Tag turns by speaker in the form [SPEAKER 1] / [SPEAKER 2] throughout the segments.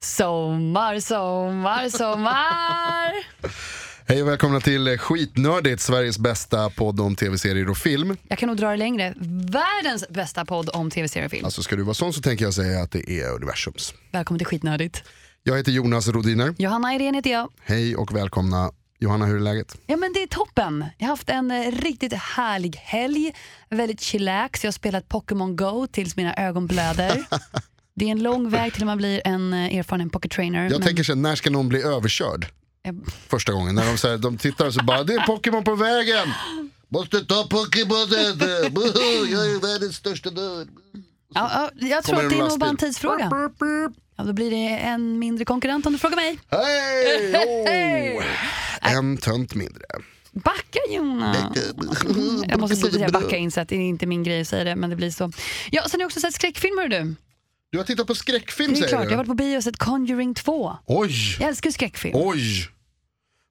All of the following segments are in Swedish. [SPEAKER 1] Sommar, sommar, sommar!
[SPEAKER 2] Hej och välkomna till Skitnördigt, Sveriges bästa podd om tv-serier och film.
[SPEAKER 1] Jag kan nog dra det längre. Världens bästa podd om tv-serier och film.
[SPEAKER 2] Alltså ska du vara sån så tänker jag säga att det är universums.
[SPEAKER 1] Välkommen till Skitnördigt.
[SPEAKER 2] Jag heter Jonas Rodiner.
[SPEAKER 1] Johanna Irene heter jag.
[SPEAKER 2] Hej och välkomna. Johanna, hur är läget?
[SPEAKER 1] Ja men det är toppen. Jag har haft en eh, riktigt härlig helg. Väldigt chillax. Jag har spelat Pokémon Go tills mina ögon blöder. Det är en lång väg till man blir en eh, erfaren pocket trainer.
[SPEAKER 2] Jag
[SPEAKER 1] men-
[SPEAKER 2] tänker så här, när ska någon bli överkörd?
[SPEAKER 1] Eh,
[SPEAKER 2] Första gången, när de, så här, de tittar och så bara, det är Pokémon på vägen! Måste ta Pokémonen! Woho, Jag är världens största nörd!
[SPEAKER 1] Ja, ja, jag tror
[SPEAKER 2] Kommer
[SPEAKER 1] att det
[SPEAKER 2] en
[SPEAKER 1] är nog bara en
[SPEAKER 2] lastbil.
[SPEAKER 1] tidsfråga.
[SPEAKER 2] Burp, burp.
[SPEAKER 1] Ja, då blir det en mindre konkurrent om du frågar mig.
[SPEAKER 2] Hej! Oh. En tönt mindre.
[SPEAKER 1] Backa Jonas! Jag måste sluta säga backa in så att det är inte min grej att säga det, men det blir så. Ja, sen har jag också sett skräckfilmer du.
[SPEAKER 2] Du har tittat på skräckfilm
[SPEAKER 1] Det är klart,
[SPEAKER 2] säger
[SPEAKER 1] jag har
[SPEAKER 2] du?
[SPEAKER 1] varit på bio och sett Conjuring 2.
[SPEAKER 2] Oj!
[SPEAKER 1] Jag älskar ju skräckfilm.
[SPEAKER 2] Oj!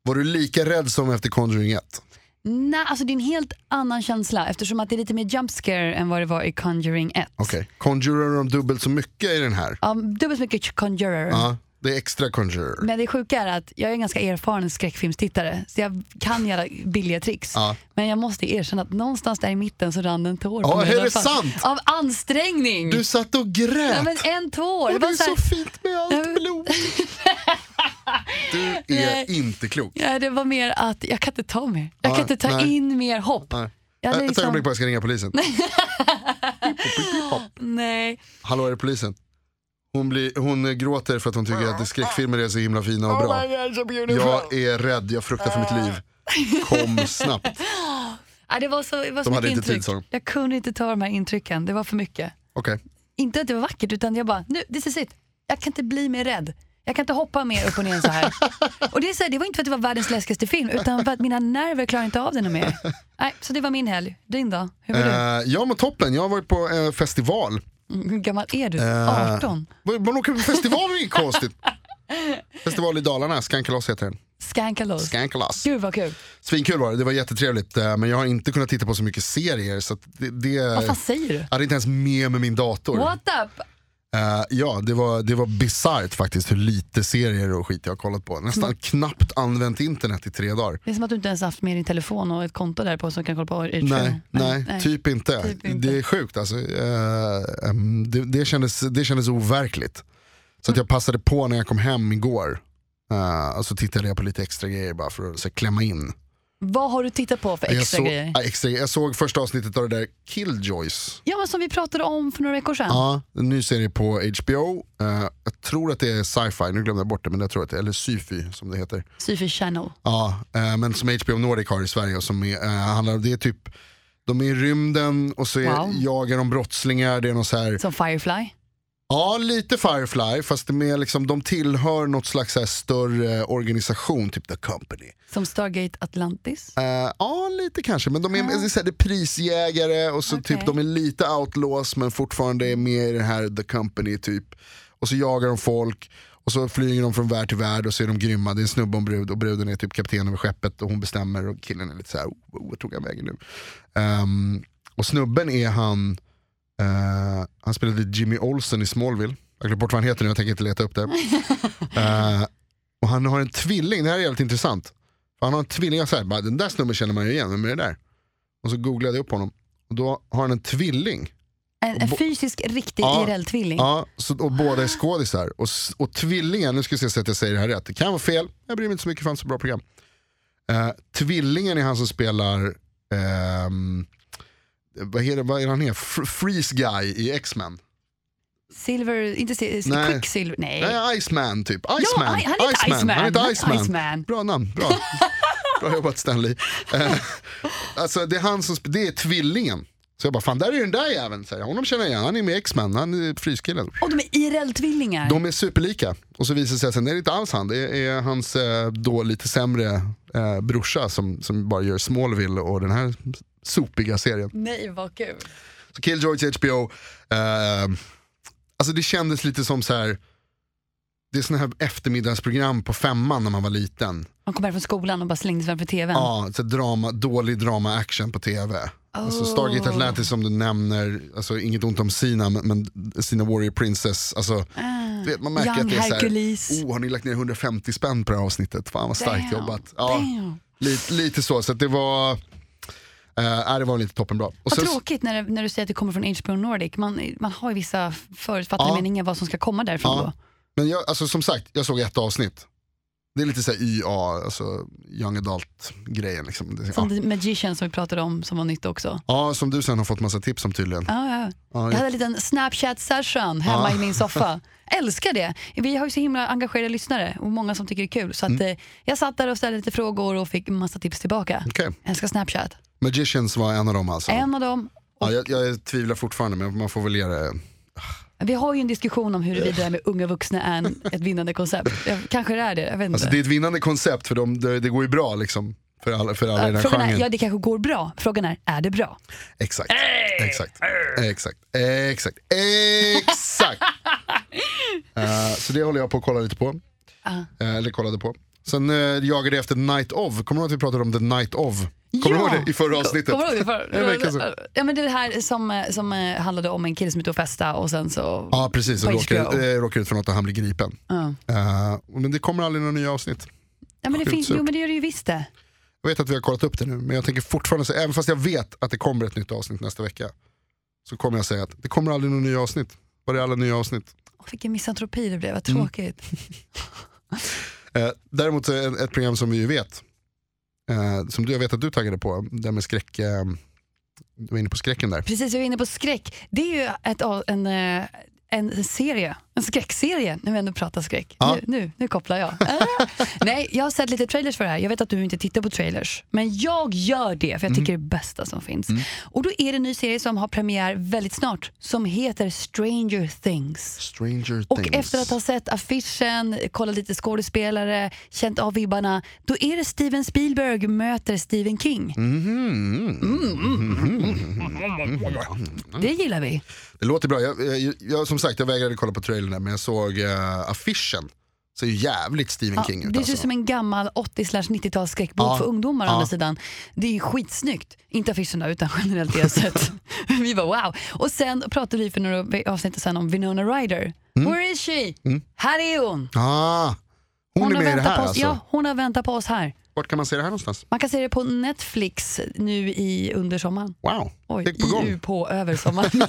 [SPEAKER 2] Var du lika rädd som efter Conjuring 1?
[SPEAKER 1] Nej, alltså det är en helt annan känsla eftersom att det är lite mer jump scare än vad det var i Conjuring 1.
[SPEAKER 2] Okej. Conjurar de dubbelt så mycket i den här?
[SPEAKER 1] Ja, dubbelt så mycket Conjurer.
[SPEAKER 2] Ja, det är extra Conjurer.
[SPEAKER 1] Men det sjuka är att jag är en ganska erfaren skräckfilmstittare så jag kan göra billiga tricks.
[SPEAKER 2] Ja.
[SPEAKER 1] Men jag måste erkänna att någonstans där i mitten så rann en tår
[SPEAKER 2] Ja,
[SPEAKER 1] på mig. i
[SPEAKER 2] är
[SPEAKER 1] alla
[SPEAKER 2] det
[SPEAKER 1] fall.
[SPEAKER 2] sant?
[SPEAKER 1] Av ansträngning!
[SPEAKER 2] Du satt och grät!
[SPEAKER 1] Ja, men en tår!
[SPEAKER 2] och det
[SPEAKER 1] var
[SPEAKER 2] är
[SPEAKER 1] så här-
[SPEAKER 2] så fint med
[SPEAKER 1] Ja,
[SPEAKER 2] allt
[SPEAKER 1] men-
[SPEAKER 2] blod. Du är
[SPEAKER 1] Nej.
[SPEAKER 2] inte klok.
[SPEAKER 1] Nej, det var mer att jag kan inte ta mer. Jag kan
[SPEAKER 2] Ja,
[SPEAKER 1] inte ta
[SPEAKER 2] nej.
[SPEAKER 1] in mer hopp.
[SPEAKER 2] Nej.
[SPEAKER 1] Jag hade
[SPEAKER 2] Ett
[SPEAKER 1] liksom-
[SPEAKER 2] ögonblick bara, jag ska ringa polisen.
[SPEAKER 1] Nej.
[SPEAKER 2] Hallå, är det polisen? Hon, blir, hon gråter för att hon tycker att skräckfilmer är så himla fina och bra. Jag är rädd, jag fruktar för mitt liv. Kom snabbt.
[SPEAKER 1] Nej, det var så, det var så mycket
[SPEAKER 2] De hade inte tid,
[SPEAKER 1] intryck.
[SPEAKER 2] sa de.
[SPEAKER 1] jag kunde inte ta de här intrycken. Det var för mycket.
[SPEAKER 2] Okej.
[SPEAKER 1] Inte att det var vackert, utan jag bara, nu, this is it. Jag kan inte bli mer rädd. Jag kan inte hoppa mer upp och ner så här. och det, är så här, det var inte för att det var världens läskigaste film, utan för att mina nerver klarar inte av det något mer. Nej, så det var min helg. Din då? Hur var du?
[SPEAKER 2] Eh, ja men toppen, jag har varit på eh, festival.
[SPEAKER 1] Mm, Hur gammal är du?
[SPEAKER 2] eh,
[SPEAKER 1] 18?
[SPEAKER 2] Man man åker på festival är inget konstigt. Festival i Dalarna, Skankalas heter den.
[SPEAKER 1] Skankalos.
[SPEAKER 2] Skankalas.
[SPEAKER 1] Gud vad kul.
[SPEAKER 2] Svinkul var det, det var jättetrevligt. eh, Men jag har inte kunnat titta på så mycket serier så att det, det
[SPEAKER 1] Vad fan
[SPEAKER 2] jag
[SPEAKER 1] säger du?
[SPEAKER 2] hade inte ens med med min dator.
[SPEAKER 1] What up?
[SPEAKER 2] Eh, ja, det var, det var bisarrt faktiskt hur lite serier och skit jag har kollat på. Nästan
[SPEAKER 1] Mm.
[SPEAKER 2] knappt använt internet i tre dagar.
[SPEAKER 1] Det är som att du inte ens haft med din telefon och ett konto där på som kan kolla på utflöden.
[SPEAKER 2] Nej, nej, typ, inte.
[SPEAKER 1] Typ inte.
[SPEAKER 2] Det är sjukt alltså. Eh, ehm, det, det, kändes, det kändes overkligt. Så att jag passade på när jag kom hem igår. Eh, och så tittade jag på lite extra grejer bara för att så, här, klämma in.
[SPEAKER 1] Vad har du tittat på för
[SPEAKER 2] jag,
[SPEAKER 1] extra
[SPEAKER 2] såg,
[SPEAKER 1] grejer?
[SPEAKER 2] ja, extra, grejer. jag såg första avsnittet av det där Killjoys.
[SPEAKER 1] Ja, men som vi pratade om för några veckor sedan.
[SPEAKER 2] Ja, en ny serie på HBO. Eh, jag tror att det är sci-fi, nu glömde jag bort det, men jag tror att det eller syfy som det heter.
[SPEAKER 1] Syfy Channel.
[SPEAKER 2] Ja, eh, men som HBO Nordic har i Sverige och som är, eh, handlar om, det är typ, de är i rymden och så är,
[SPEAKER 1] Wow.
[SPEAKER 2] jagar de brottslingar, det är någon så här,
[SPEAKER 1] Som Firefly.
[SPEAKER 2] ja lite Firefly fast det är liksom, de tillhör något slags så här större organisation, typ The Company.
[SPEAKER 1] Som Stargate Atlantis.
[SPEAKER 2] Eh, ja lite kanske, men de är, det är så här, det är prisjägare och så
[SPEAKER 1] Okej.
[SPEAKER 2] typ de är lite outlaws men fortfarande är med i den här The Company typ. Och så jagar de folk och så flyger de från värld till värld och så är de grymma. Det är en snubbe och en brud och bruden är typ kapten över skeppet och hon bestämmer och killen är lite så här, oh, oh, vart tog jag vägen nu? Ehm, och snubben är han, eh, han spelade Jimmy Olsen i Smallville. Jag har glömt bort vad han heter nu, jag tänker inte leta upp det. Eh, och han har en tvilling, det här är jävligt intressant. För han har en tvilling, jag säger bara den där snubben känner man ju igen, vem är det där? Och så googlade jag upp honom. Och då har han en tvilling.
[SPEAKER 1] En, en fysisk, riktig
[SPEAKER 2] Ja.
[SPEAKER 1] IRL-tvilling.
[SPEAKER 2] Ja, så, och båda är skådisar. Och, s- och tvillingen, nu ska vi se så att jag säger det här rätt, det kan vara fel, jag bryr mig inte så mycket för han har så bra program. Eh, tvillingen är han som spelar, ehm, vad, är det, vad är det han är? Fr- Freeze guy i X-Men.
[SPEAKER 1] Silver, inte si-
[SPEAKER 2] Nej.
[SPEAKER 1] Quicksilver. Nej.
[SPEAKER 2] Nej, Iceman typ. Iceman.
[SPEAKER 1] Ja, han heter Iceman.
[SPEAKER 2] Han heter Iceman.
[SPEAKER 1] Iceman.
[SPEAKER 2] Bra namn, bra. bra jobbat Stanley. Eh, alltså det är han som, sp- det är tvillingen. Så jag bara, fan där är den där jäveln. Så här, honom känner jag igen, han är med i X-Men, han är fryskillen.
[SPEAKER 1] Och de är IRL-tvillingar.
[SPEAKER 2] De är superlika. Och så visar det sig sen, det är inte alls han, det är hans eh, då lite sämre eh, brorsa som, som bara gör Smallville och den här sopiga serien.
[SPEAKER 1] Nej, vad kul.
[SPEAKER 2] Så Killjoys HBO, eh, alltså det kändes lite som så här. Det är såna här eftermiddagsprogram på femman när man var liten.
[SPEAKER 1] Man kom här från skolan och bara slängdes framför tvn.
[SPEAKER 2] Ja, så drama, dålig drama-action på tv. Alltså
[SPEAKER 1] Oh.
[SPEAKER 2] Stargate Atlantis som du nämner, alltså inget ont om Sina, men- men Sina Warrior Princess, alltså
[SPEAKER 1] Ah.
[SPEAKER 2] Du vet, man märker
[SPEAKER 1] Young
[SPEAKER 2] att det är
[SPEAKER 1] Hercules.
[SPEAKER 2] såhär, oh har ni lagt ner 150 spänn på det här avsnittet? Fan vad starkt
[SPEAKER 1] Damn.
[SPEAKER 2] jobbat. Ja,
[SPEAKER 1] Damn.
[SPEAKER 2] lite, lite så, så att det var, eh, äh, det var lite toppenbra. Och
[SPEAKER 1] Vad
[SPEAKER 2] sen-
[SPEAKER 1] tråkigt när, det- när du säger att det kommer från HBO Nordic. Man, man har ju vissa förutfattade
[SPEAKER 2] Ja.
[SPEAKER 1] meningar vad som ska komma därifrån
[SPEAKER 2] Ja.
[SPEAKER 1] då.
[SPEAKER 2] Men jag, alltså, som sagt, jag såg ett avsnitt. Det är lite såhär YA, alltså young adult grejen. Liksom. Det-
[SPEAKER 1] Som
[SPEAKER 2] ja.
[SPEAKER 1] The Magician som vi pratade om som var nytt också.
[SPEAKER 2] ja, som du sen har fått massa tips om tydligen.
[SPEAKER 1] Ja, ja.
[SPEAKER 2] Ja,
[SPEAKER 1] Jag hade en liten Snapchat-session hemma
[SPEAKER 2] Ja.
[SPEAKER 1] i min soffa. Älskar det. Vi har ju så himla engagerade lyssnare och många som tycker det är kul. Så att,
[SPEAKER 2] Mm.
[SPEAKER 1] eh, jag satt där och ställde lite frågor och fick massa tips tillbaka.
[SPEAKER 2] Okej,
[SPEAKER 1] Älskar Snapchat.
[SPEAKER 2] Magicians var en av dem alltså.
[SPEAKER 1] En av dem.
[SPEAKER 2] Ja, jag, jag tvivlar fortfarande men man får väl ge det.
[SPEAKER 1] Vi har ju en diskussion om huruvida det här med unga vuxna är en, ett vinnande koncept. Jag- Kanske det är det, jag vet inte.
[SPEAKER 2] Alltså, det är ett vinnande koncept för dem, det, det går ju bra liksom. För alla, för alla i den här
[SPEAKER 1] Frågan är,
[SPEAKER 2] genren.
[SPEAKER 1] ja det kanske går bra. Frågan är, är det bra?
[SPEAKER 2] Exakt. Exakt. Exakt. Exakt. Exakt. Eh, så det håller jag på att kolla lite på.
[SPEAKER 1] Ah.
[SPEAKER 2] Eh, eller kollade på. Sen eh, jagade jag efter Night of. Kommer du ihåg att vi pratade om The Night of? Kommer du ihåg det i förra avsnittet?
[SPEAKER 1] Kommer du ihåg det? För,
[SPEAKER 2] En vecka sedan.
[SPEAKER 1] ja, men det här som, eh, som eh, handlade om en kille som är ute och festa och sen så...
[SPEAKER 2] Ja precis, och
[SPEAKER 1] På
[SPEAKER 2] råkar,
[SPEAKER 1] HBO.
[SPEAKER 2] eh, råkar ut för något och han blir gripen.
[SPEAKER 1] Ja.
[SPEAKER 2] Eh, men det kommer aldrig några nya avsnitt.
[SPEAKER 1] Ja, men det
[SPEAKER 2] Sjukt
[SPEAKER 1] finns,
[SPEAKER 2] surt.
[SPEAKER 1] jo men det gör det ju visst det.
[SPEAKER 2] Jag vet att vi har kollat upp det nu, men jag tänker fortfarande säga, även fast jag vet att det kommer ett nytt avsnitt nästa vecka, så kommer jag säga att det kommer aldrig några nya avsnitt. Var är alla nya avsnitt?
[SPEAKER 1] Åh, vilken misantropi det blev, vad
[SPEAKER 2] Mm.
[SPEAKER 1] tråkigt.
[SPEAKER 2] Eh, däremot eh, ett program som vi ju vet, eh, som du, jag vet att du taggade på, det med skräck, eh, du var inne på skräcken där.
[SPEAKER 1] Precis, vi var inne på skräck. Det är ju ett, av- en, eh, en serie, en skräckserie, när vi ändå pratar skräck.
[SPEAKER 2] Ja.
[SPEAKER 1] Nu, nu, nu kopplar jag. Eh. Nej, jag har sett lite trailers för det här. Jag vet att du inte tittar på trailers, men jag gör det
[SPEAKER 2] Mm.
[SPEAKER 1] för jag tycker det är det bästa som finns. Och då är det en ny serie som har premiär väldigt snart som heter Stranger Things.
[SPEAKER 2] Stranger
[SPEAKER 1] Och efter att ha sett affischen, kollat lite skådespelare, känt av vibbarna, då är det Steven Spielberg möter Stephen King.
[SPEAKER 2] Mm. Mhm.
[SPEAKER 1] Det gillar vi.
[SPEAKER 2] Det låter bra, jag, jag, jag, som sagt jag vägrade kolla på trailern där, men jag såg eh, affischen. Ser ju jävligt Stephen
[SPEAKER 1] Ja,
[SPEAKER 2] King
[SPEAKER 1] det
[SPEAKER 2] ut
[SPEAKER 1] ser ut
[SPEAKER 2] alltså.
[SPEAKER 1] som en gammal 80-90-tals skräckbok
[SPEAKER 2] Ja.
[SPEAKER 1] för ungdomar å
[SPEAKER 2] Ja.
[SPEAKER 1] andra sidan. Det är ju skitsnyggt. Inte affischen där, utan generellt det jag sett. vi var wow. Och sen pratade vi för några avsnitt sen om Winona Ryder.
[SPEAKER 2] Mm.
[SPEAKER 1] Where is she? Här är hon.
[SPEAKER 2] Ah, hon, är
[SPEAKER 1] har
[SPEAKER 2] med i det
[SPEAKER 1] väntat
[SPEAKER 2] här
[SPEAKER 1] på oss.
[SPEAKER 2] alltså?
[SPEAKER 1] Ja, hon har väntat på oss här.
[SPEAKER 2] Vart kan man se det här någonstans?
[SPEAKER 1] Man kan se det på Netflix nu i, under sommaren.
[SPEAKER 2] Wow,
[SPEAKER 1] Oj,
[SPEAKER 2] det är på
[SPEAKER 1] IU
[SPEAKER 2] gång.
[SPEAKER 1] på över sommaren.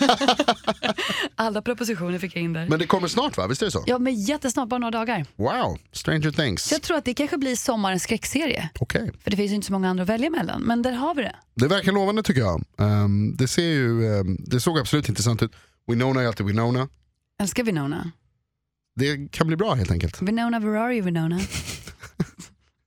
[SPEAKER 1] Alla propositioner fick jag in där.
[SPEAKER 2] Men det kommer snart va, visst är det så?
[SPEAKER 1] ja, men jättesnabbt, bara några dagar.
[SPEAKER 2] Wow, Stranger Things.
[SPEAKER 1] Så jag tror att det kanske blir sommarens skräckserie.
[SPEAKER 2] Okej.
[SPEAKER 1] För det finns ju inte så många andra att välja mellan. Men där har vi det.
[SPEAKER 2] Det verkar lovande tycker jag. Ehm, det, ser ju, ehm, det såg absolut intressant ut. Winona är alltid Winona.
[SPEAKER 1] Älskar Winona.
[SPEAKER 2] Det kan bli bra helt enkelt.
[SPEAKER 1] Winona, where are you Winona?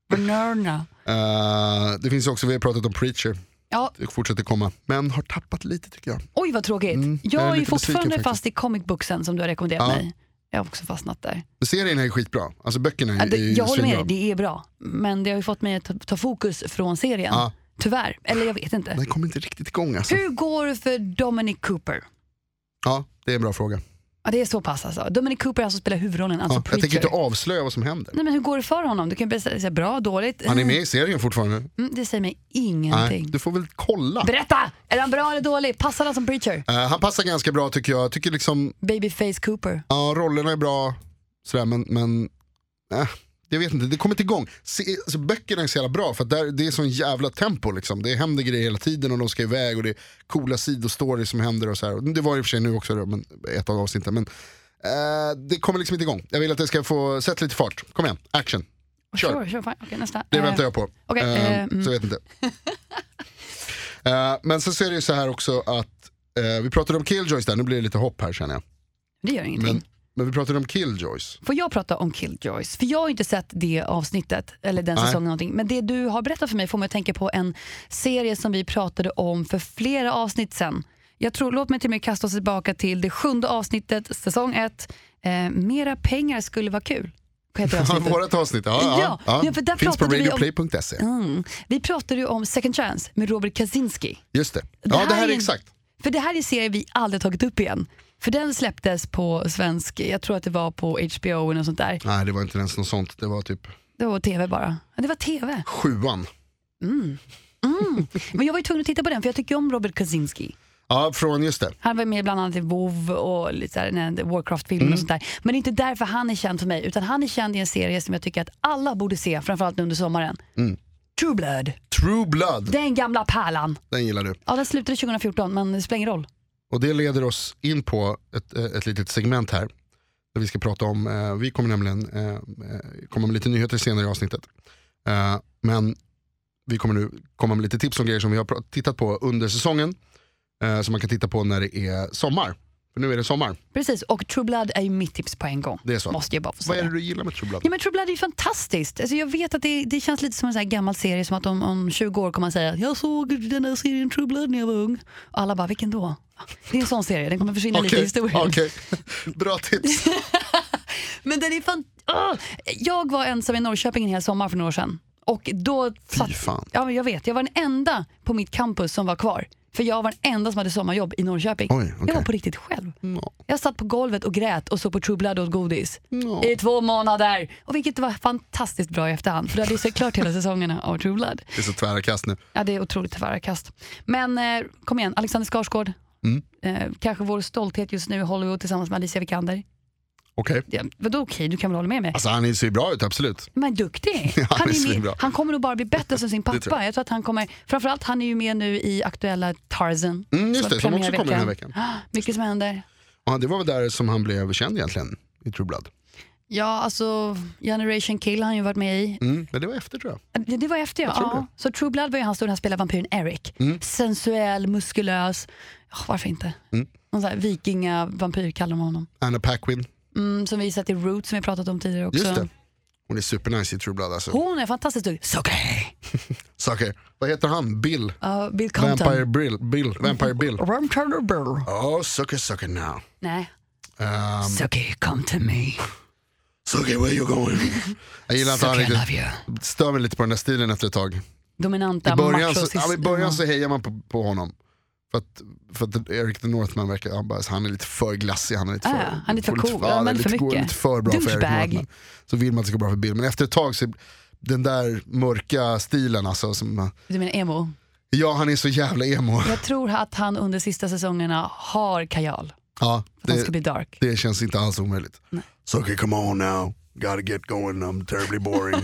[SPEAKER 1] Winona.
[SPEAKER 2] Eh, det finns ju också, vi har pratat om Preacher,
[SPEAKER 1] Ja,
[SPEAKER 2] det fortsätter komma. Men har tappat lite tycker jag.
[SPEAKER 1] oj vad tråkigt.
[SPEAKER 2] Mm,
[SPEAKER 1] jag
[SPEAKER 2] jag är
[SPEAKER 1] är ju
[SPEAKER 2] lite
[SPEAKER 1] fortfarande
[SPEAKER 2] besviken
[SPEAKER 1] fast i comic booksen som du har rekommenderat
[SPEAKER 2] Ja.
[SPEAKER 1] mig. Jag har också fastnat där.
[SPEAKER 2] Men Serien är ju skitbra, alltså böckerna
[SPEAKER 1] Ja,
[SPEAKER 2] är,
[SPEAKER 1] det,
[SPEAKER 2] är ju
[SPEAKER 1] jag håller med dig,
[SPEAKER 2] svinbra.
[SPEAKER 1] det är bra. Men det har ju fått mig att ta, ta fokus från serien.
[SPEAKER 2] Ja.
[SPEAKER 1] Tyvärr, eller jag vet inte.
[SPEAKER 2] Den kommer inte riktigt igång alltså.
[SPEAKER 1] Hur går det för Dominic Cooper?
[SPEAKER 2] Ja, det är en bra fråga.
[SPEAKER 1] Ja, det är så pass alltså. Dominic Cooper är han som spelar huvudrollen, alltså
[SPEAKER 2] Ja, jag tänker
[SPEAKER 1] Preacher.
[SPEAKER 2] inte avslöja vad som händer.
[SPEAKER 1] Nej, men hur går det för honom? Du kan ju bara säga bra, dåligt.
[SPEAKER 2] Han är med i serien fortfarande.
[SPEAKER 1] Mm, det säger mig
[SPEAKER 2] Nej,
[SPEAKER 1] ingenting.
[SPEAKER 2] du får väl kolla.
[SPEAKER 1] Berätta! Är han bra eller dålig? Passar han som Preacher?
[SPEAKER 2] Eh, han passar ganska bra tycker jag. Jag tycker liksom,
[SPEAKER 1] Babyface Cooper.
[SPEAKER 2] ja rollerna är bra, sådär, men, men eh, jag vet inte, det kommer inte igång. Se, alltså, böckerna är så jävla bra för att där, det är sån jävla tempo. Liksom. Det händer grejer hela tiden och de ska iväg och det är coola sidostories som händer. Och så här. Det var i och för sig nu också, då, men, ett av avsnitten. Men, eh, det kommer liksom inte igång. Jag vill att det ska få, sätt lite fart. Kom igen, action. Kör.
[SPEAKER 1] Sure, sure, fine. Okej, nästa.
[SPEAKER 2] Det
[SPEAKER 1] Eh,
[SPEAKER 2] väntar jag på.
[SPEAKER 1] okej,
[SPEAKER 2] Eh,
[SPEAKER 1] eh, mm.
[SPEAKER 2] Så jag vet inte. Eh, men sen så är det ju så här också att, eh, vi pratade om Killjoys där, nu blir det lite hopp här känner jag.
[SPEAKER 1] Det gör ingenting.
[SPEAKER 2] Men, men vi pratade om Killjoys.
[SPEAKER 1] Får jag prata om Killjoys? För jag har inte sett det avsnittet, eller den
[SPEAKER 2] Nej.
[SPEAKER 1] säsongen någonting. Men det du har berättat för mig får mig att tänka på en serie som vi pratade om för flera avsnitt sen. Jag tror, låt mig till och med kasta oss tillbaka till det sjunde avsnittet, säsong ett. Eh, mera pengar skulle vara kul. Heter avsnittet.
[SPEAKER 2] Vårat avsnitt, ja. ja,
[SPEAKER 1] Ja, ja, för där
[SPEAKER 2] Finns på
[SPEAKER 1] pratade vi om-
[SPEAKER 2] radioplay.se.
[SPEAKER 1] Mm. Vi pratade ju om Second Chance med Robert Kaczynski.
[SPEAKER 2] Just det. Ja, det här är
[SPEAKER 1] en-
[SPEAKER 2] exakt.
[SPEAKER 1] För det här är en serie vi aldrig tagit upp igen. För den släpptes på svensk, jag tror att det var på HBO eller något sånt där.
[SPEAKER 2] Nej, det var inte ens något sånt. Det var typ
[SPEAKER 1] Det var tv bara. Ja, Det var tv.
[SPEAKER 2] sjuan.
[SPEAKER 1] Men jag var ju tvungen att titta på den för jag tycker ju om Robert Kaczynski.
[SPEAKER 2] Ja, från, just det.
[SPEAKER 1] Han var med bland annat i WoW och lite så här, den här Warcraft-filmen
[SPEAKER 2] Mm.
[SPEAKER 1] och sånt där. Men det är inte därför han är känd för mig, utan han är känd i en serie som jag tycker att alla borde se, framförallt nu under sommaren.
[SPEAKER 2] Mm.
[SPEAKER 1] True Blood,
[SPEAKER 2] True Blood,
[SPEAKER 1] den gamla pärlan.
[SPEAKER 2] den gillar du.
[SPEAKER 1] Ja, den slutade 2014, men det spelar ingen roll.
[SPEAKER 2] Och det leder oss in på ett, eh, ett litet segment här. Där vi ska prata om, eh, vi kommer nämligen eh, eh, komma med lite nyheter senare i avsnittet. Eh, men vi kommer nu komma med lite tips om grejer som vi har pra- tittat på under säsongen. Eh, som man kan titta på när det är sommar. För nu är det sommar.
[SPEAKER 1] Precis, och True Blood är ju mitt tips på en gång.
[SPEAKER 2] Det är så.
[SPEAKER 1] Måste jag bara få
[SPEAKER 2] Vad är det
[SPEAKER 1] säga.
[SPEAKER 2] du gillar med True Blood?
[SPEAKER 1] Ja, men True Blood är ju fantastiskt. Alltså, jag vet att det, det känns lite som en sån här gammal serie, som att om, om 20 år kommer man säga jag såg den här serien True Blood när jag var ung. Och alla bara, vilken då? Det är en sån serie, den kommer försvinna lite i
[SPEAKER 2] Okej,
[SPEAKER 1] historien.
[SPEAKER 2] okej. Bra tips.
[SPEAKER 1] Men den är fan... Åh! Jag var ensam i Norrköping en hel sommar för några år sedan. Och då
[SPEAKER 2] Fy
[SPEAKER 1] satt,
[SPEAKER 2] fan.
[SPEAKER 1] ja, men jag vet, jag var den enda på mitt campus som var kvar. För jag var den enda som hade sommarjobb i Norrköping.
[SPEAKER 2] Oj, okej.
[SPEAKER 1] Jag var på riktigt själv.
[SPEAKER 2] Nå,
[SPEAKER 1] Jag satt på golvet och grät och såg på True Blood och åt godis.
[SPEAKER 2] nå.
[SPEAKER 1] I två månader! Och vilket var fantastiskt bra i efterhand. För då hade jag sett klart hela säsongerna av True Blood.
[SPEAKER 2] Det är så tvära kast nu.
[SPEAKER 1] Ja, det är otroligt tvära kast. Men eh, kom igen, Alexander Skarsgård.
[SPEAKER 2] Mm.
[SPEAKER 1] Eh, kanske vår stolthet just nu i Hollywood tillsammans med Alicia Vikander.
[SPEAKER 2] Okej.
[SPEAKER 1] Ja, vadå okej, du kan väl hålla med mig?
[SPEAKER 2] Alltså han ser ju bra ut, absolut.
[SPEAKER 1] Men duktig!
[SPEAKER 2] Ja,
[SPEAKER 1] Han,
[SPEAKER 2] det är
[SPEAKER 1] är med,
[SPEAKER 2] svinbra.
[SPEAKER 1] han kommer nog bara bli bättre som sin pappa.
[SPEAKER 2] tror
[SPEAKER 1] jag. tror att han kommer, framförallt han är ju med nu i aktuella Tarzan.
[SPEAKER 2] Mm, just
[SPEAKER 1] var
[SPEAKER 2] det, som också kommer den här
[SPEAKER 1] premiärveckan.
[SPEAKER 2] veckan.
[SPEAKER 1] Ah, Mycket som händer.
[SPEAKER 2] Ja, det var väl där som han blev känd egentligen, i True Blood.
[SPEAKER 1] Ja, alltså Generation Kill har han ju varit med i.
[SPEAKER 2] Mm, men det var efter tror jag.
[SPEAKER 1] Det, det var efter ja.
[SPEAKER 2] Jag tror
[SPEAKER 1] ja. Så True Blood var ju han stora, han spelade vampyren Eric. Sensuell, muskulös. Ja, varför inte?
[SPEAKER 2] Mm.
[SPEAKER 1] Någon sån här vikingavampyr kallar de honom.
[SPEAKER 2] Anna Paquin,
[SPEAKER 1] Mm, som vi sett i Roots som vi pratat om tidigare också.
[SPEAKER 2] just det. Hon är supernice i True Blood alltså.
[SPEAKER 1] Hon är fantastiskt duktig. Sucker!
[SPEAKER 2] Saker. Vad heter han? Bill?
[SPEAKER 1] Ja, Bill Compton.
[SPEAKER 2] Vampire Bill? Bill. Vampire Bill.
[SPEAKER 1] Rum Turner Burr.
[SPEAKER 2] Oh, sucker sucker now.
[SPEAKER 1] Nej,
[SPEAKER 2] Um,
[SPEAKER 1] Sucker come to me.
[SPEAKER 2] sucker where you going? Jag gillar att Alltså, han
[SPEAKER 1] Sucker I love
[SPEAKER 2] riktigt
[SPEAKER 1] you.
[SPEAKER 2] stör mig lite på den där stilen efter ett tag.
[SPEAKER 1] Dominanta
[SPEAKER 2] I början, så,
[SPEAKER 1] machos-
[SPEAKER 2] ja, men I början så hejar man på, på honom. För att, för att Eric the Northman verkar, han, bara, han är lite för glassig, han är lite
[SPEAKER 1] Ah,
[SPEAKER 2] för,
[SPEAKER 1] han är lite för
[SPEAKER 2] får
[SPEAKER 1] cool,
[SPEAKER 2] ja,
[SPEAKER 1] han
[SPEAKER 2] det
[SPEAKER 1] är
[SPEAKER 2] är
[SPEAKER 1] lite för
[SPEAKER 2] lite, går
[SPEAKER 1] mycket.
[SPEAKER 2] lite för bra för Eric
[SPEAKER 1] Douchebag.
[SPEAKER 2] Northman. Så vill man att det ska gå bra för Bill, men efter ett tag så den där mörka stilen alltså, som,
[SPEAKER 1] Du menar emo?
[SPEAKER 2] ja han är så jävla emo.
[SPEAKER 1] Jag tror att han under sista säsongerna har kajal.
[SPEAKER 2] Ja,
[SPEAKER 1] Att han
[SPEAKER 2] det,
[SPEAKER 1] ska bli dark.
[SPEAKER 2] det känns inte alls omöjligt. So okay, come on now, gotta get going, I'm terribly boring.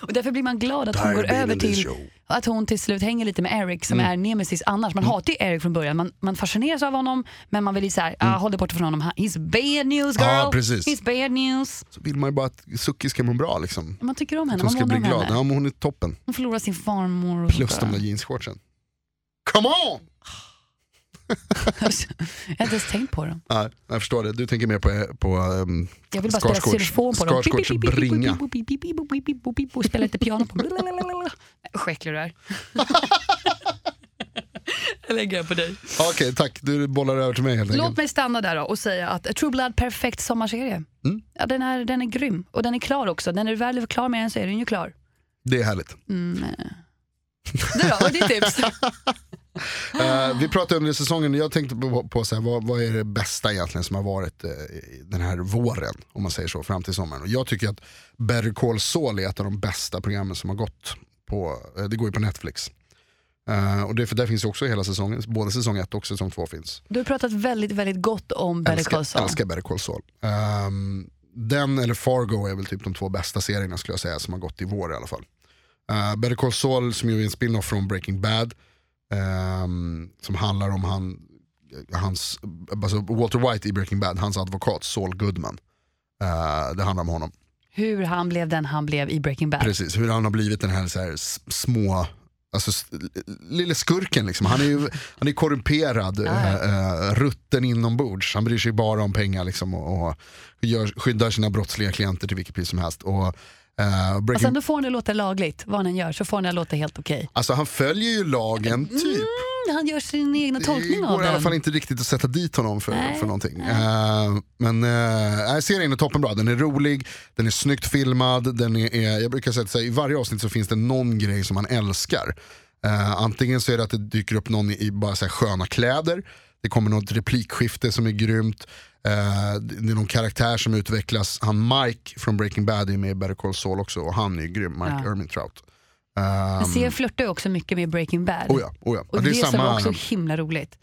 [SPEAKER 1] Och därför blir man glad att hon
[SPEAKER 2] Tired
[SPEAKER 1] går
[SPEAKER 2] of being
[SPEAKER 1] över
[SPEAKER 2] in this
[SPEAKER 1] till
[SPEAKER 2] show. Mm.
[SPEAKER 1] att hon till slut hänger lite med Eric som är nemesis annars. Man hatar ju Eric från början. Man, man fascineras av honom men man vill ju såhär, ah, håll dig borta från honom. Han- He's bad news girl.
[SPEAKER 2] Mm. Ja, precis.
[SPEAKER 1] He's bad news.
[SPEAKER 2] så vill man ju bara att Suki ska må bra liksom.
[SPEAKER 1] Man tycker om
[SPEAKER 2] Att
[SPEAKER 1] henne.
[SPEAKER 2] hon
[SPEAKER 1] Man
[SPEAKER 2] ska
[SPEAKER 1] månar
[SPEAKER 2] bli
[SPEAKER 1] om
[SPEAKER 2] glad.
[SPEAKER 1] henne.
[SPEAKER 2] Ja, men hon är toppen.
[SPEAKER 1] Hon förlorar sin farmor. Och
[SPEAKER 2] Plus de
[SPEAKER 1] sånt
[SPEAKER 2] där
[SPEAKER 1] där.
[SPEAKER 2] jeansshortsen. Come on!
[SPEAKER 1] Jag har inte ens tänkt på dem.
[SPEAKER 2] Nej, jag förstår det. Du tänker mer på, på ehm,
[SPEAKER 1] Jag vill bara spela
[SPEAKER 2] Skarsgårds-
[SPEAKER 1] xylofon på dem.
[SPEAKER 2] Skarsgårds bringa.
[SPEAKER 1] Och spela lite piano på dem. Usch äcklig du är. Jag lägger på dig.
[SPEAKER 2] Okej, tack. Du bollar över till mig helt
[SPEAKER 1] Låt
[SPEAKER 2] enkelt.
[SPEAKER 1] mig stanna där då och säga att True Blood, perfekt sommarserie.
[SPEAKER 2] Mm.
[SPEAKER 1] Ja, den, är, den är grym och den är klar också. Den är väl klar med en så är den ju klar.
[SPEAKER 2] Det är härligt.
[SPEAKER 1] Mm. eh. Du då, vad är ditt tips?
[SPEAKER 2] Eh, vi pratade under säsongen, jag tänkte på, på så här, vad, vad är det bästa egentligen som har varit eh, i den här våren, om man säger så, fram till sommaren. Och jag tycker att Better Call Saul är ett av de bästa programmen som har gått. På, eh, det går ju på Netflix. Eh, och det, för där finns ju också hela säsongen, både säsong ett och säsong två finns.
[SPEAKER 1] Du har pratat väldigt, väldigt gott om Better Call
[SPEAKER 2] älskar,
[SPEAKER 1] Saul.
[SPEAKER 2] älskar Better Call Saul. Ehm, den eller Fargo är väl typ de två bästa serierna skulle jag säga som har gått i vår i alla fall. Eh, Better Call Saul som ju är en spin-off från Breaking Bad. ehm, som handlar om han, hans, alltså Walter White i Breaking Bad, hans advokat Saul Goodman. Eh, det handlar om honom.
[SPEAKER 1] Hur han blev den han blev i Breaking Bad.
[SPEAKER 2] Precis, hur han har blivit den här, så här s- små, alltså s- lille skurken liksom. Han är ju han är korrumperad,
[SPEAKER 1] Ja, ja.
[SPEAKER 2] äh, rutten inombords. Han bryr sig bara om pengar liksom och, och gör, skyddar sina brottsliga klienter till vilket pris som helst. Och, eh,
[SPEAKER 1] Och
[SPEAKER 2] Breaking,
[SPEAKER 1] sen Alltså, då får han det låta lagligt, vad han än gör, så får han det låta helt okej.
[SPEAKER 2] alltså han följer ju lagen typ.
[SPEAKER 1] Mm, han gör sin egna
[SPEAKER 2] det
[SPEAKER 1] tolkning
[SPEAKER 2] går
[SPEAKER 1] av
[SPEAKER 2] i alla fall
[SPEAKER 1] den.
[SPEAKER 2] inte riktigt att sätta dit honom för,
[SPEAKER 1] Nej,
[SPEAKER 2] för någonting. Eh, men uh, serien är toppenbra, den är rolig, den är snyggt filmad, den är, är, jag brukar säga att så här, i varje avsnitt så finns det någon grej som man älskar. Eh, antingen så är det att det dyker upp någon i, i bara så här sköna kläder, det kommer något replikskifte som är grymt, eh, det är någon karaktär som utvecklas, han Mike från Breaking Bad är med i Better Call Saul också och han är ju grym, Mike
[SPEAKER 1] Ja.
[SPEAKER 2] Ermintrout. Ehm,
[SPEAKER 1] C flörtar ju också mycket med Breaking Bad.
[SPEAKER 2] oh ja, oh ja.
[SPEAKER 1] Och
[SPEAKER 2] Ja,
[SPEAKER 1] det,
[SPEAKER 2] det är
[SPEAKER 1] som var
[SPEAKER 2] samma.
[SPEAKER 1] också himla roligt.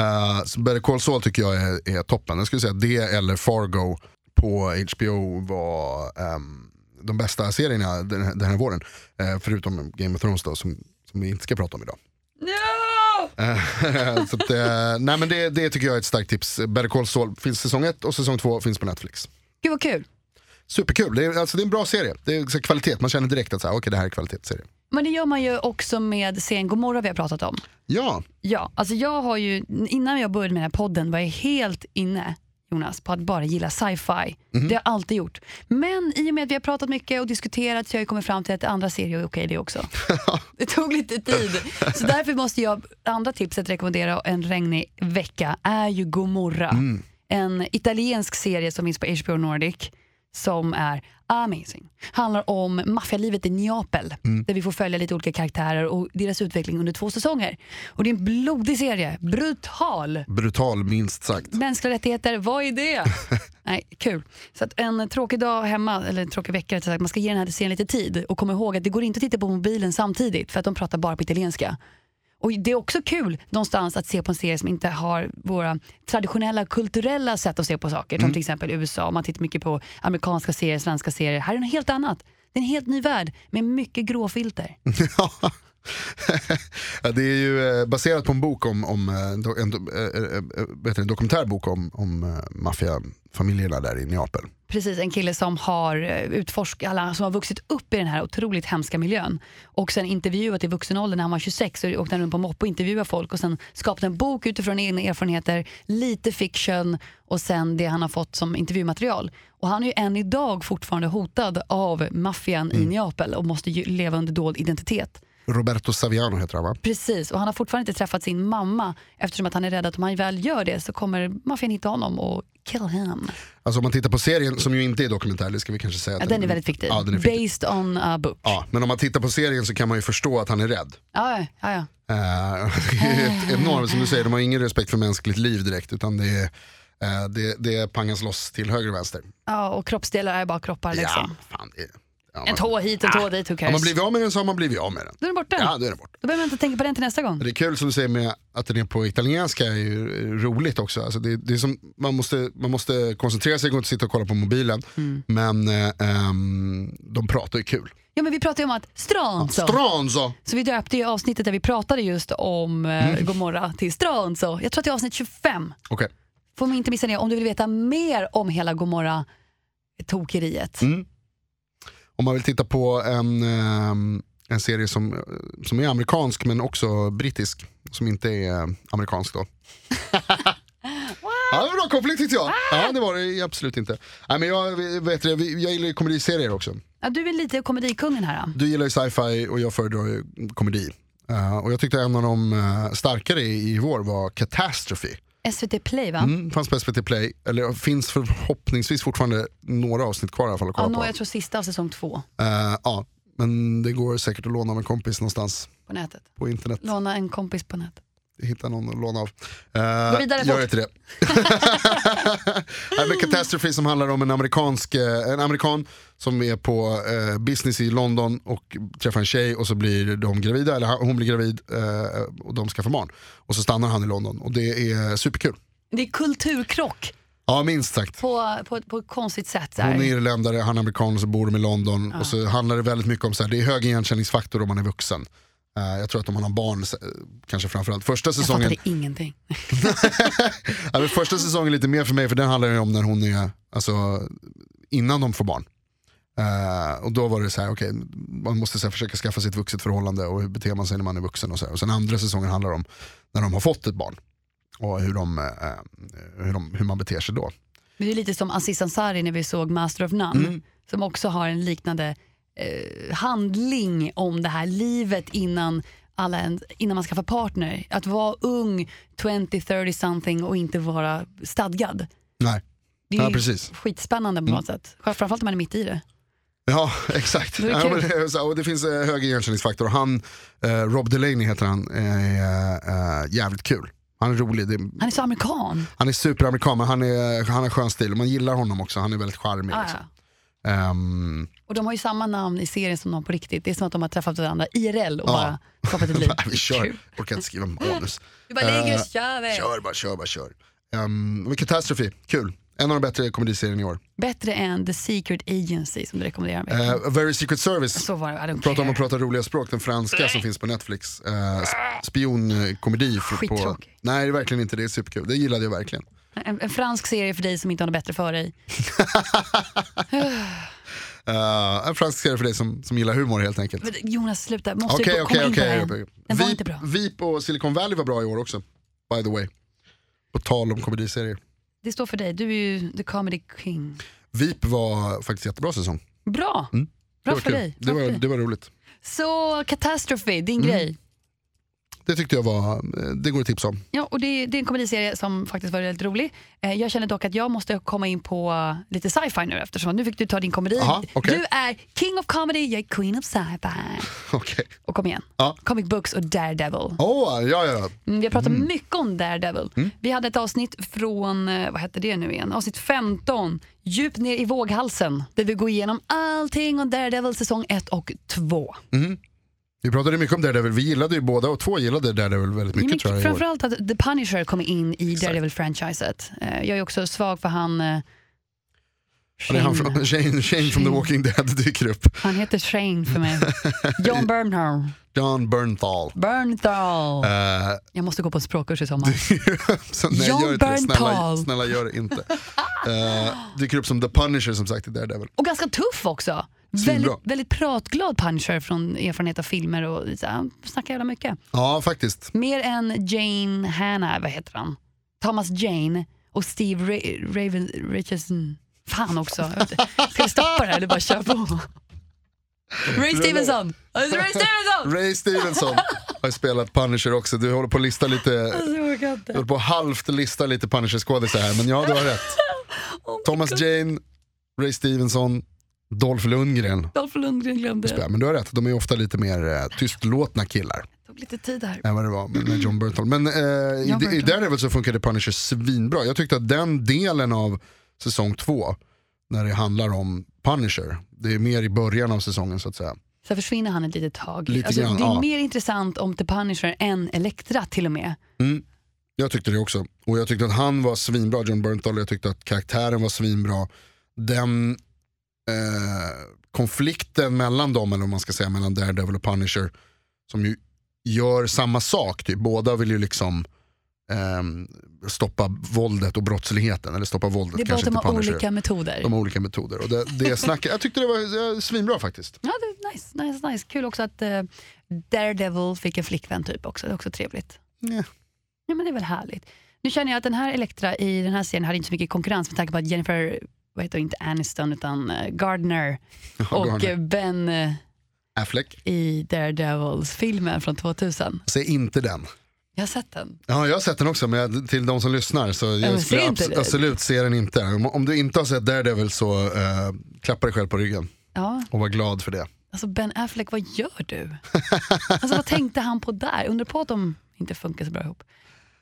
[SPEAKER 2] Uh, Better Call Saul tycker jag är, är toppen. Jag skulle säga det eller Fargo på HBO var ehm, de bästa serierna den här, den här våren. Eh, förutom Game of Thrones då, som, som vi inte ska prata om idag.
[SPEAKER 1] No!
[SPEAKER 2] Eh, så att, eh, nej men det, det tycker jag är ett starkt tips. Better Call Saul finns säsong 1 och säsong 2 finns på Netflix.
[SPEAKER 1] Gud vad kul.
[SPEAKER 2] Superkul, det är, alltså, det är en bra serie. Det är så här kvalitet, man känner direkt att så här, okej, det här är kvalitetsserie.
[SPEAKER 1] Men det gör man ju också med serien Gomorra vi har pratat om.
[SPEAKER 2] Ja,
[SPEAKER 1] Ja, alltså jag har ju, innan jag började med den här podden var jag helt inne Jonas, på att bara gilla sci-fi. Det har jag alltid gjort. Men i och med att vi har pratat mycket och diskuterat så har jag kommit fram till att andra serier är okej det också. det tog lite tid. Så därför måste jag, andra tipset rekommendera en regnig vecka är ju Gomorra. En italiensk serie som finns på HBO Nordic som är amazing. Handlar om maffialivet i Neapel där vi får följa lite olika karaktärer och deras utveckling under två säsonger. Och det är en blodig serie, brutal.
[SPEAKER 2] brutal minst sagt.
[SPEAKER 1] Mänskliga rättigheter, vad är det? Nej, kul. Så att en tråkig dag hemma, eller en tråkig vecka rättare sagt, man ska ge den här serien lite tid och kom ihåg att det går inte att titta på mobilen samtidigt för att de pratar bara på italienska. Och Det är också kul någonstans att se på en serie som inte har våra traditionella kulturella sätt att se på saker. Som till exempel USA, man tittar mycket på amerikanska serier, svenska serier. Här är det något helt annat. Det är en helt ny värld med mycket gråfilter.
[SPEAKER 2] Ja. Ja, det är ju eh, baserat på en bok om, om eh, do- en, do- eh, eh, eh, vad heter det, en dokumentär bok om, om eh, maffiafamiljerna där i Neapel.
[SPEAKER 1] Precis, en kille som har eh, utforskat, alla som har vuxit upp i den här otroligt hemska miljön. Och sen intervjuat i vuxen ålder när han var 26 och åkte han runt på moppe och intervjuade folk och sen skapat en bok utifrån egna erfarenheter, lite fiction och sen det han har fått som intervjumaterial. Och han är ju än idag fortfarande hotad av maffian
[SPEAKER 2] Mm.
[SPEAKER 1] i Neapel och måste ju leva under dold identitet.
[SPEAKER 2] Roberto Saviano heter han va?
[SPEAKER 1] Precis, och han har fortfarande inte träffat sin mamma eftersom att han är rädd att om han väl gör det så kommer maffian hitta honom och kill him.
[SPEAKER 2] Alltså om man tittar på serien, som ju inte är dokumentär, det ska vi kanske säga. att
[SPEAKER 1] Ja, den är väldigt fiktiv.
[SPEAKER 2] Mm. Ja, den är fiktiv.
[SPEAKER 1] Based on a book.
[SPEAKER 2] Ja, men om man tittar på serien så kan man ju förstå att han är rädd.
[SPEAKER 1] Ja, ja, ja, ja.
[SPEAKER 2] Eh, det är ett enormt, som du säger, de har ingen respekt för mänskligt liv direkt utan det är, eh, det, det pangas loss till höger och vänster.
[SPEAKER 1] ja, och kroppsdelar är bara kroppar.
[SPEAKER 2] Ja,
[SPEAKER 1] Liksom.
[SPEAKER 2] fan, det är, ja,
[SPEAKER 1] En
[SPEAKER 2] man-
[SPEAKER 1] tå hit, en tå dit, who
[SPEAKER 2] Har
[SPEAKER 1] cares?
[SPEAKER 2] man blivit av med den så har man blivit av med den.
[SPEAKER 1] Då är den borta.
[SPEAKER 2] Ja, då är den borta.
[SPEAKER 1] Då behöver man inte tänka på den till nästa gång.
[SPEAKER 2] Det är kul som du säger med att den är på italienska är ju roligt också. Alltså det, det är som, man, måste, man måste koncentrera sig, det går inte att sitta och kolla på mobilen. Men eh, ehm, de pratar ju kul.
[SPEAKER 1] Ja, men vi pratade ju om att Stranzo.
[SPEAKER 2] Stranzo!
[SPEAKER 1] så vi döpte ju avsnittet där vi pratade just om eh,
[SPEAKER 2] Mm.
[SPEAKER 1] Gomorra till Stranzo. Jag tror att det är avsnitt 25.
[SPEAKER 2] Okej,
[SPEAKER 1] Får man inte missa det om du vill veta mer om hela Gomorra-tokeriet.
[SPEAKER 2] Mm. om man vill titta på en, ehm, en serie som, som är amerikansk men också brittisk. Som inte är eh, amerikansk då. Ja, det var en bra koppling tyckte jag. Ja, det var det absolut inte. Nej, men jag, vet det, jag gillar ju komediserier också.
[SPEAKER 1] Ja, du är lite komedikungen här.
[SPEAKER 2] Du gillar ju sci-fi och jag föredrar ju komedi. Eh, och jag tyckte en av de eh, starkare i, i vår var Catastrophe.
[SPEAKER 1] då. SVT Play, va?
[SPEAKER 2] Mm, fanns på SVT Play, eller finns förhoppningsvis fortfarande några avsnitt kvar i alla fall att
[SPEAKER 1] Ja,
[SPEAKER 2] kolla
[SPEAKER 1] nå,
[SPEAKER 2] på.
[SPEAKER 1] jag tror sista av säsong två
[SPEAKER 2] Eh, ja, men det går säkert att låna av en kompis någonstans
[SPEAKER 1] på nätet.
[SPEAKER 2] på internet.
[SPEAKER 1] Låna en kompis på nätet.
[SPEAKER 2] Hitta någon att låna av. Eh,
[SPEAKER 1] Gå vidare,
[SPEAKER 2] gör
[SPEAKER 1] fort.
[SPEAKER 2] inte det. Nej, men Catastrophe som handlar om en, amerikansk, eh, en amerikan som är på eh, business i London och träffar en tjej och så blir de gravida, eller han- hon blir gravid eh, och de ska få barn. Och så stannar han i London och det är superkul.
[SPEAKER 1] Det är kulturkrock
[SPEAKER 2] Ja minst sagt.
[SPEAKER 1] på, på, på ett konstigt sätt. Så
[SPEAKER 2] Hon är
[SPEAKER 1] här.
[SPEAKER 2] irländare, han är amerikan och så bor de i London. Och så handlar det väldigt mycket om så här, det är hög igenkänningsfaktor om man är vuxen. Eh, jag tror att om man har barn, eh, kanske framförallt första
[SPEAKER 1] Jag
[SPEAKER 2] säsongen,
[SPEAKER 1] fattade ingenting.
[SPEAKER 2] Ja, men första säsongen lite mer för mig, för den handlar ju om när hon är, alltså innan de får barn. Eh, och då var det så här, okej, man måste så här, försöka skaffa sig ett vuxet förhållande och hur beter man sig när man är vuxen och så här. Och sen andra säsongen handlar om när de har fått ett barn. Och hur, de, eh, hur, de, hur man beter sig då.
[SPEAKER 1] Men det är lite som Aziz Ansari när vi såg Master of None
[SPEAKER 2] Mm.
[SPEAKER 1] som också har en liknande eh, handling om det här livet innan, alla en, innan man skaffar partner. Att vara ung, 20, 30 something och inte vara stadgad.
[SPEAKER 2] Nej,
[SPEAKER 1] Det är
[SPEAKER 2] ja,
[SPEAKER 1] ju
[SPEAKER 2] precis. Mm.
[SPEAKER 1] skitspännande på något sätt. Framförallt om man är mitt i det.
[SPEAKER 2] Ja, exakt.
[SPEAKER 1] Det är
[SPEAKER 2] ja,
[SPEAKER 1] kul.
[SPEAKER 2] men, det är så här, och det finns eh, hög igenkänningsfaktor. Och Han, eh, Rob Delaney heter han, är eh, jävligt kul. Han är rolig, det,
[SPEAKER 1] Han är så amerikan.
[SPEAKER 2] Han är superamerikan men han, är, han har skön stil och man gillar honom också, han är väldigt charmig.
[SPEAKER 1] Ah,
[SPEAKER 2] liksom.
[SPEAKER 1] ja.
[SPEAKER 2] Ehm,
[SPEAKER 1] Och de har ju samma namn i serien som de har på riktigt. Det är som att de har träffat varandra IRL och
[SPEAKER 2] Ja.
[SPEAKER 1] bara skapat ett liv.
[SPEAKER 2] nej, vi kör,
[SPEAKER 1] Kul.
[SPEAKER 2] jag orkar inte skriva manus.
[SPEAKER 1] Du bara ligger
[SPEAKER 2] Eh,
[SPEAKER 1] och kör vi.
[SPEAKER 2] Kör bara, kör bara, kör. Um, men Catastrophe, kul. En av de bättre komediserierna i år.
[SPEAKER 1] Bättre än The Secret Agency som du rekommenderar mig.
[SPEAKER 2] Eh, A Very Secret Service,
[SPEAKER 1] Så var det, I don't
[SPEAKER 2] prata om
[SPEAKER 1] care.
[SPEAKER 2] att prata roliga språk, den franska som finns på Netflix. Eh, sp- spionkomedi. för- På...
[SPEAKER 1] Skittråkig.
[SPEAKER 2] Nej, det är verkligen inte, det är superkul. Det gillade jag verkligen.
[SPEAKER 1] En, en fransk serie för dig som inte har något bättre för dig.
[SPEAKER 2] Eh, en fransk serie för dig som, som gillar humor helt enkelt.
[SPEAKER 1] Men Jonas sluta, måste du
[SPEAKER 2] Okej,
[SPEAKER 1] komma in
[SPEAKER 2] okej,
[SPEAKER 1] på
[SPEAKER 2] okej.
[SPEAKER 1] den? Den var inte bra.
[SPEAKER 2] Vip och Silicon Valley var bra i år också, by the way. På tal om komediserier.
[SPEAKER 1] Det står för dig, du är ju the comedy king.
[SPEAKER 2] Vip var faktiskt jättebra säsong.
[SPEAKER 1] Bra!
[SPEAKER 2] Mm. Det
[SPEAKER 1] Bra
[SPEAKER 2] var
[SPEAKER 1] för
[SPEAKER 2] kul.
[SPEAKER 1] dig.
[SPEAKER 2] Det
[SPEAKER 1] Bra
[SPEAKER 2] var, Mm.
[SPEAKER 1] för dig.
[SPEAKER 2] det var roligt.
[SPEAKER 1] Så Catastrophe, din grej.
[SPEAKER 2] Det tyckte jag var, eh, det går att tipsa om.
[SPEAKER 1] Ja, och det, det är en komediserie som faktiskt var väldigt rolig. Eh, jag känner dock att jag måste komma in på eh, lite sci-fi nu eftersom nu fick du ta din komedi.
[SPEAKER 2] Aha, okej.
[SPEAKER 1] Du är king of comedy, jag är queen of sci-fi.
[SPEAKER 2] Okej.
[SPEAKER 1] Och kom igen,
[SPEAKER 2] Ja.
[SPEAKER 1] comic books och Daredevil.
[SPEAKER 2] Åh, ja, ja.
[SPEAKER 1] Mm, Vi har pratat mycket om Daredevil.
[SPEAKER 2] Mm.
[SPEAKER 1] Vi hade ett avsnitt från, eh, vad hette det nu igen, avsnitt 15, djupt ner i våghalsen, där vi går igenom allting om Daredevil säsong 1 och 2.
[SPEAKER 2] Vi pratade mycket om Daredevil, vi gillade ju båda och två gillade Daredevil väldigt mycket tror jag i år.
[SPEAKER 1] Framförallt att The Punisher kom in i Daredevil-franchiset. Eh, Jag är också svag för han... eh,
[SPEAKER 2] Ja, det är
[SPEAKER 1] Shane.
[SPEAKER 2] Han, från- Shane, Shane från The Walking Dead dyker upp.
[SPEAKER 1] Han heter Shane för mig. John Bernthal.
[SPEAKER 2] John Bernthal.
[SPEAKER 1] Bernthal.
[SPEAKER 2] Eh,
[SPEAKER 1] Jag måste gå på en språkkurs i sommar.
[SPEAKER 2] så, nej,
[SPEAKER 1] John
[SPEAKER 2] gör inte det. Snälla,
[SPEAKER 1] Bernthal.
[SPEAKER 2] snälla gör det inte. Eh, dyker upp som The Punisher som sagt i Daredevil.
[SPEAKER 1] Och ganska tuff också.
[SPEAKER 2] Svinbra.
[SPEAKER 1] Väldigt, väldigt pratglad Punisher från erfarenhet av filmer. Och, så, han snackar jävla mycket.
[SPEAKER 2] Ja, faktiskt.
[SPEAKER 1] Mer än Jane Hanna, vad heter han? Thomas Jane och Steve Ra- Raven Richardson. Fan också. Jag vet inte. Ska vi stoppa det här eller bara köra på? Ray Stevenson! Ray Stevenson!
[SPEAKER 2] Ray Stevenson har ju spelat Punisher också. Du håller på att lista lite,
[SPEAKER 1] Alltså, jag orkar inte.
[SPEAKER 2] du håller på att halvt lista lite Punisher-skådisar här, men ja, du har rätt.
[SPEAKER 1] Oh my
[SPEAKER 2] Thomas
[SPEAKER 1] God.
[SPEAKER 2] Jane, Ray Stevenson, Dolph Lundgren.
[SPEAKER 1] Dolph Lundgren glömde.
[SPEAKER 2] Ja, men du har rätt, de är ju ofta lite mer eh, tystlåtna killar
[SPEAKER 1] Det tog lite tid här.
[SPEAKER 2] än vad det var med med John Burton. Men eh, i,
[SPEAKER 1] John
[SPEAKER 2] i
[SPEAKER 1] Burton.
[SPEAKER 2] Daredevil så funkade Punisher svinbra. Jag tyckte att den delen av säsong två, när det handlar om Punisher, det är mer i början av säsongen så att säga.
[SPEAKER 1] Sen försvinner han ett litet tag.
[SPEAKER 2] Lite
[SPEAKER 1] alltså,
[SPEAKER 2] grann,
[SPEAKER 1] det är
[SPEAKER 2] ja.
[SPEAKER 1] mer intressant om The Punisher än Elektra till och med.
[SPEAKER 2] Jag tyckte det också. Och jag tyckte att han var svinbra, John Bernthal. Jag tyckte att karaktären var svinbra. Den eh, konflikten mellan dem, eller vad man ska säga, mellan Daredevil och Punisher, som ju gör samma sak. Typ. Båda vill ju liksom ehm, stoppa våldet och brottsligheten. Eller stoppa våldet
[SPEAKER 1] Det är bara att
[SPEAKER 2] kanske
[SPEAKER 1] de
[SPEAKER 2] inte
[SPEAKER 1] har
[SPEAKER 2] Punisher.
[SPEAKER 1] olika metoder.
[SPEAKER 2] De har olika metoder. Och det, det snackar, jag tyckte det var eh, svinbra faktiskt.
[SPEAKER 1] Ja, det är nice, nice, nice. Kul också att eh, Daredevil fick en flickvän typ också. Det är också trevligt.
[SPEAKER 2] Nej.
[SPEAKER 1] Ja, men det är väl härligt. Nu känner jag att den här Elektra i den här serien hade inte så mycket konkurrens med tanke på att Jennifer, vad heter hon, inte Aniston utan eh, Gardner och
[SPEAKER 2] Och,
[SPEAKER 1] eh, Ben eh,
[SPEAKER 2] Affleck,
[SPEAKER 1] i Daredevils-filmen från 2000.
[SPEAKER 2] säg inte den.
[SPEAKER 1] Jag har sett den.
[SPEAKER 2] Ja, jag har sett den också, men jag, till de som lyssnar så jag
[SPEAKER 1] men
[SPEAKER 2] skulle
[SPEAKER 1] se inte
[SPEAKER 2] abs-
[SPEAKER 1] det.
[SPEAKER 2] absolut se den inte. Om, om du inte har sett Daredevil så eh, klappa dig själv på ryggen
[SPEAKER 1] Ja,
[SPEAKER 2] och var glad för det.
[SPEAKER 1] Alltså Ben Affleck, vad gör du? Alltså vad tänkte han på där? Undrar på att de inte funkar så bra ihop.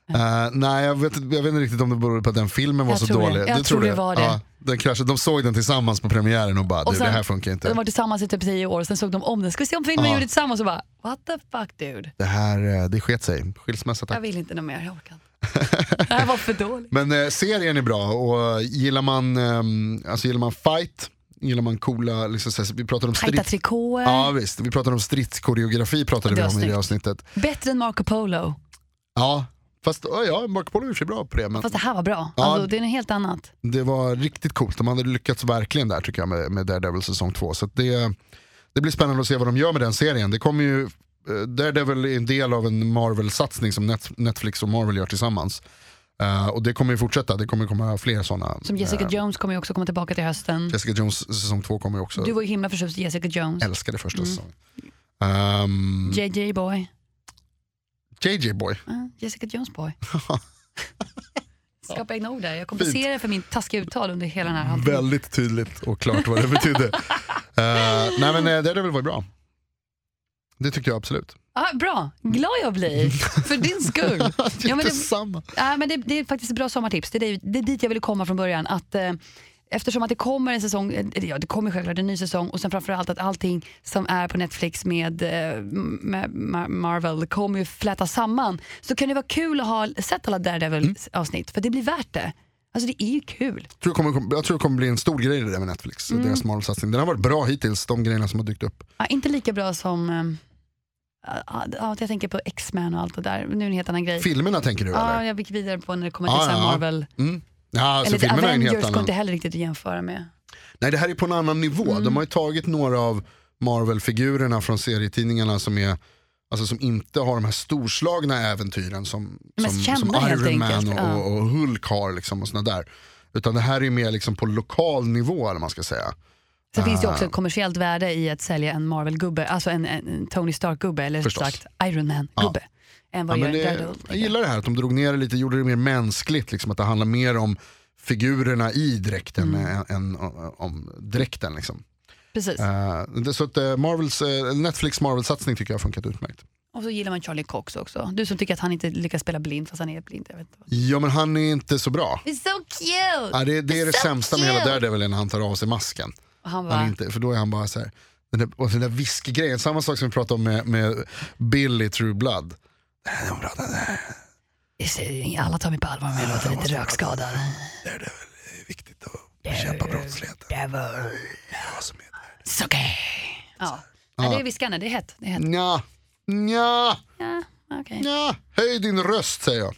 [SPEAKER 2] Eh, nej, jag vet, jag vet inte riktigt om det berodde på att den filmen var
[SPEAKER 1] Jag
[SPEAKER 2] så
[SPEAKER 1] tror det.
[SPEAKER 2] dålig.
[SPEAKER 1] Jag
[SPEAKER 2] Du
[SPEAKER 1] tror det var det.
[SPEAKER 2] Ja, den kraschade. De såg den tillsammans på premiären och bara,
[SPEAKER 1] Och
[SPEAKER 2] du,
[SPEAKER 1] sen-
[SPEAKER 2] det här funkar inte.
[SPEAKER 1] De var tillsammans i typ tio år, sen såg de om den. Ska vi se om filmen
[SPEAKER 2] Ja.
[SPEAKER 1] gjorde tillsammans och bara, what the fuck dude?
[SPEAKER 2] Det här, eh, det sket sig. Skilsmässa
[SPEAKER 1] Jag
[SPEAKER 2] tack.
[SPEAKER 1] vill inte något mer, jag orkar inte. Det här var för dåligt.
[SPEAKER 2] Men eh, serien är bra och eh, gillar man, ehm, alltså gillar man fight, gillar man coola, liksom, så här, vi pratade om
[SPEAKER 1] Tajta
[SPEAKER 2] strids...
[SPEAKER 1] trikåer,
[SPEAKER 2] Ja visst, vi pratade om stridskoreografi pratade
[SPEAKER 1] Det
[SPEAKER 2] vi
[SPEAKER 1] var
[SPEAKER 2] om i det
[SPEAKER 1] snyggt.
[SPEAKER 2] avsnittet.
[SPEAKER 1] bättre än Marco Polo.
[SPEAKER 2] Ja, fast ja, ja, Marco Polo är i och för sig bra på det. Men
[SPEAKER 1] Fast det här var bra.
[SPEAKER 2] Ja.
[SPEAKER 1] Alltså, det är något helt annat.
[SPEAKER 2] det var riktigt coolt. De hade lyckats verkligen där tycker jag med, med Daredevil säsong 2. Så att det, det blir spännande att se vad de gör med den serien. Det kommer ju, eh, Daredevil är en del av en Marvel-satsning som Net, Netflix och Marvel gör tillsammans. Eh, och det kommer ju fortsätta, det kommer komma fler sådana.
[SPEAKER 1] Som Jessica
[SPEAKER 2] Eh,
[SPEAKER 1] Jones kommer ju också komma tillbaka till hösten.
[SPEAKER 2] Jessica Jones säsong 2 kommer ju också.
[SPEAKER 1] Du Mm. var ju himla förtjust i Jessica Jones.
[SPEAKER 2] Älskade första säsongen. Ehm,
[SPEAKER 1] JJ boy.
[SPEAKER 2] JJ Boy.
[SPEAKER 1] Ja, Jessica Jones boy. Skapa egna ord där. Jag
[SPEAKER 2] Fint.
[SPEAKER 1] kompenserar för min taskiga uttal under hela den här halvtimmen.
[SPEAKER 2] Väldigt tydligt och klart vad det betydde. Eh, nej men eh, Daredevil var ju bra. Det tyckte jag absolut.
[SPEAKER 1] Ah, bra, glad jag blir för din skull. ja, men det,
[SPEAKER 2] Detsamma.
[SPEAKER 1] ja, men det, det är faktiskt ett bra sommartips. Det är, det, det är dit jag ville komma från början. Att eh, eftersom att det kommer en säsong, eh, ja det kommer självklart en ny säsong och sen framförallt att allting som är på Netflix med, eh, med Ma- Marvel kommer ju flätas samman. Så kan det vara kul att ha sett alla
[SPEAKER 2] Mm.
[SPEAKER 1] Daredevil avsnitt för det blir värt det. Alltså det är ju kul.
[SPEAKER 2] Jag tror, det kommer, jag tror det kommer bli en stor grej det där med Netflix,
[SPEAKER 1] Mm.
[SPEAKER 2] deras Marvel-satsning. Den har varit bra hittills, de grejerna som har dykt upp.
[SPEAKER 1] Ja, inte lika bra som, eh, ja, ja, jag tänker på X-Men och allt det där, nu är det en helt annan grej.
[SPEAKER 2] Filmerna tänker du
[SPEAKER 1] Eh, Ja,
[SPEAKER 2] eller?
[SPEAKER 1] jag gick vidare på när det kommer
[SPEAKER 2] Ja,
[SPEAKER 1] till så här
[SPEAKER 2] ja, ja.
[SPEAKER 1] Marvel.
[SPEAKER 2] Mm. Ja, så
[SPEAKER 1] Eller
[SPEAKER 2] filmerna är en
[SPEAKER 1] Avengers
[SPEAKER 2] helt
[SPEAKER 1] går
[SPEAKER 2] annan.
[SPEAKER 1] inte heller riktigt att jämföra med.
[SPEAKER 2] Nej det här är på en annan nivå.
[SPEAKER 1] Mm.
[SPEAKER 2] De har ju tagit några av Marvel-figurerna från serietidningarna som är Alltså som inte har de här storslagna äventyren som,
[SPEAKER 1] mest
[SPEAKER 2] som,
[SPEAKER 1] kända
[SPEAKER 2] som
[SPEAKER 1] helt
[SPEAKER 2] Iron Man
[SPEAKER 1] enkelt,
[SPEAKER 2] och,
[SPEAKER 1] ja.
[SPEAKER 2] och, och Hulk har. Liksom och såna där. Utan det här är ju mer liksom på lokal nivå eller vad man ska säga.
[SPEAKER 1] Sen finns det ju
[SPEAKER 2] Ah.
[SPEAKER 1] också ett kommersiellt värde i att sälja en Marvel-gubbe, alltså en, en en Tony Stark-gubbe eller
[SPEAKER 2] Förstås. Ah.
[SPEAKER 1] sagt Iron Man-gubbe. Än
[SPEAKER 2] Ja,
[SPEAKER 1] vad
[SPEAKER 2] men
[SPEAKER 1] gör en
[SPEAKER 2] det,
[SPEAKER 1] Daredevil.
[SPEAKER 2] jag gillar det här att de drog ner det lite, gjorde det mer mänskligt. Liksom, att det handlar mer om figurerna i dräkten
[SPEAKER 1] Mm.
[SPEAKER 2] än, än om- om dräkten. Liksom.
[SPEAKER 1] Precis.
[SPEAKER 2] Eh, det, så att eh, Marvels, eh, Netflix Marvel-satsning tycker jag har funkat utmärkt.
[SPEAKER 1] Och så gillar man Charlie Cox också. Du som tycker att han inte lyckas spela blind fast han är blind. Jag vet inte vad.
[SPEAKER 2] Ja men han är inte så bra.
[SPEAKER 1] It's so cute!
[SPEAKER 2] Ja, det, det är det
[SPEAKER 1] So
[SPEAKER 2] sämsta med
[SPEAKER 1] cute.
[SPEAKER 2] hela Daredevil är när han tar av sig masken.
[SPEAKER 1] Och han
[SPEAKER 2] Han är
[SPEAKER 1] bara,
[SPEAKER 2] inte, för då är han bara så här, den där, och den där viskgrejen, samma sak som vi pratade om med, med Billy i True Blood.
[SPEAKER 1] "Just det, alla tar mig på allvar om jag låter lite rökskadad.
[SPEAKER 2] Det är viktigt att bekämpa brottsligheten.
[SPEAKER 1] Devil.
[SPEAKER 2] Vad som är
[SPEAKER 1] It's okay. Ja. Ja. det är viskarna, det är hett. Det är hett.
[SPEAKER 2] det. Nja, nja,
[SPEAKER 1] Ja, okej.
[SPEAKER 2] nja. Höj din röst säger jag.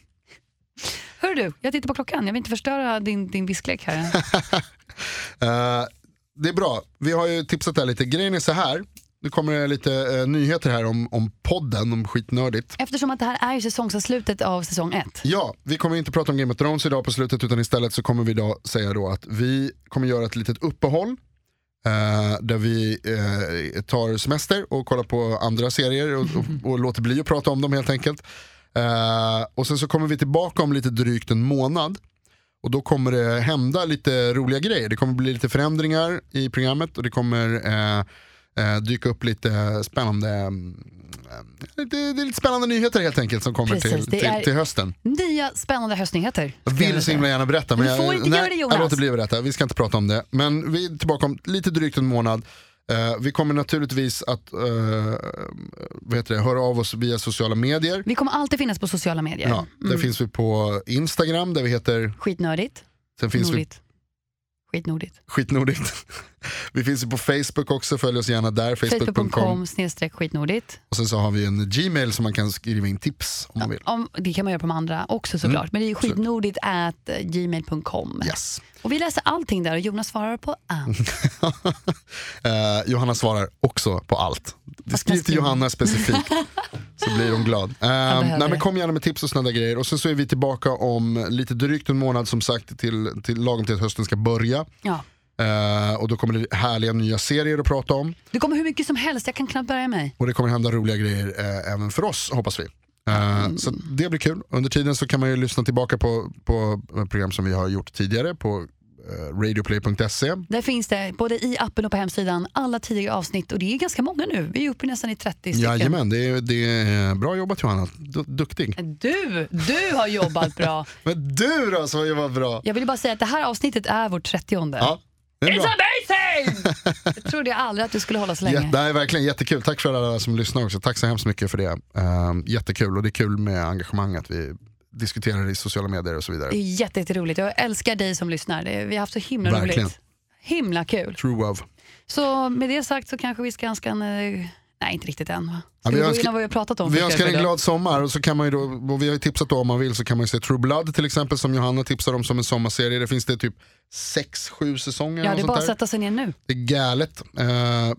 [SPEAKER 1] Hör du, jag tittar på klockan. Jag vill inte förstöra din, din visklek här.
[SPEAKER 2] Eh, det är bra, vi har ju tipsat där lite. Grejen är så här, nu kommer det lite eh, nyheter här om, om podden, om skitnördigt.
[SPEAKER 1] Eftersom att det här är ju säsongsavslutet av säsong ett.
[SPEAKER 2] Ja, vi kommer inte prata om Game of Thrones idag på slutet utan istället så kommer vi idag säga då att vi kommer göra ett litet uppehåll eh, där vi eh, tar semester och kollar på andra serier och, och, och låter bli att prata om dem helt enkelt. Eh, och sen så kommer vi tillbaka om lite drygt en månad och då kommer det hända lite roliga grejer. Det kommer bli lite förändringar i programmet och det kommer eh, eh, dyka upp lite spännande mm, eh, det, det är lite spännande nyheter helt enkelt som kommer
[SPEAKER 1] Precis,
[SPEAKER 2] till,
[SPEAKER 1] det
[SPEAKER 2] till,
[SPEAKER 1] är-
[SPEAKER 2] till hösten.
[SPEAKER 1] Nya spännande höstnyheter.
[SPEAKER 2] Jag
[SPEAKER 1] skulle
[SPEAKER 2] vill så himla
[SPEAKER 1] säga.
[SPEAKER 2] gärna berätta men
[SPEAKER 1] Du
[SPEAKER 2] jag,
[SPEAKER 1] får inte
[SPEAKER 2] nej,
[SPEAKER 1] göra det,
[SPEAKER 2] jag
[SPEAKER 1] Jonas.
[SPEAKER 2] låter bli att berätta, vi ska inte prata om det. Men vi är tillbaka om lite drygt en månad. Eh, vi kommer naturligtvis att eh, vad heter det, höra av oss via sociala medier.
[SPEAKER 1] Vi kommer alltid finnas på sociala medier.
[SPEAKER 2] Ja, där
[SPEAKER 1] Mm.
[SPEAKER 2] finns vi på Instagram där vi heter,
[SPEAKER 1] Skitnördigt,
[SPEAKER 2] sen finns vi
[SPEAKER 1] nordigt. Skitnordigt.
[SPEAKER 2] skitnordigt. vi finns ju på Facebook också, följ oss gärna där, facebook.com.
[SPEAKER 1] Facebook.com snedstreck skitnordigt.
[SPEAKER 2] Och sen så har vi en Gmail som man kan skriva in tips om man vill. Mm.
[SPEAKER 1] Om, det kan man göra på de andra också såklart. Men det är skitnordigt at eh, gmail.com.
[SPEAKER 2] Yes.
[SPEAKER 1] Och vi läser allting där och Jonas svarar på
[SPEAKER 2] Mm.
[SPEAKER 1] allt.
[SPEAKER 2] Eh, Johanna svarar också på allt. Skriv till
[SPEAKER 1] skriva?
[SPEAKER 2] Johanna specifikt så blir hon glad. Eh,
[SPEAKER 1] behöver
[SPEAKER 2] nej, men
[SPEAKER 1] det.
[SPEAKER 2] kom gärna med tips och sådana grejer. Och sen så är vi tillbaka om lite drygt en månad som sagt till, till lagom till att hösten ska börja.
[SPEAKER 1] Ja.
[SPEAKER 2] Eh, och då kommer det härliga nya serier att prata om.
[SPEAKER 1] Det kommer hur mycket som helst, jag kan knappt börja mig.
[SPEAKER 2] Och det kommer hända roliga grejer eh, även för oss hoppas vi. Eh, Så det blir kul. Under tiden så kan man ju lyssna tillbaka på, på program som vi har gjort tidigare på eh, radioplay.se.
[SPEAKER 1] Där finns det både i appen och på hemsidan alla tidigare avsnitt och det är ganska många nu. Vi är uppe i nästan i 30 stycken.
[SPEAKER 2] Jajamän, det är, det är bra jobbat Johanna. Du, duktig.
[SPEAKER 1] Du, du har jobbat bra.
[SPEAKER 2] Men du då som var bra.
[SPEAKER 1] Jag vill bara säga att det här avsnittet är vårt 30.
[SPEAKER 2] Ja, det är bra.
[SPEAKER 1] amazing! jag trodde jag aldrig att du skulle hålla så länge.
[SPEAKER 2] Jät- det här är verkligen jättekul. Tack för alla som lyssnar också. Tack så hemskt mycket för det. Ehm, jättekul och det är kul med engagemanget. Vi diskuterar det i sociala medier och så vidare.
[SPEAKER 1] Det är jätte- jätteroligt. Jag älskar dig som lyssnar. Det- Vi har haft så himla
[SPEAKER 2] Verkligen.
[SPEAKER 1] roligt. Himla kul.
[SPEAKER 2] True love.
[SPEAKER 1] Så med det sagt så kanske vi ska önska en... eh, Nej, inte riktigt än. va? Ska
[SPEAKER 2] Ja, vi
[SPEAKER 1] vi, gå
[SPEAKER 2] önskar-
[SPEAKER 1] in och vad vi har pratat om?
[SPEAKER 2] Vi
[SPEAKER 1] först,
[SPEAKER 2] önskar en
[SPEAKER 1] Edward?
[SPEAKER 2] glad sommar och så kan man ju då, och vi har ju tipsat då om man vill så kan man ju se True Blood till exempel som Johanna tipsar om som en sommarserie. Det finns det typ 6-7 säsonger.
[SPEAKER 1] Ja, det
[SPEAKER 2] och
[SPEAKER 1] är
[SPEAKER 2] sånt
[SPEAKER 1] bara att
[SPEAKER 2] där.
[SPEAKER 1] sätta sig ner nu.
[SPEAKER 2] Det är galet. Uh,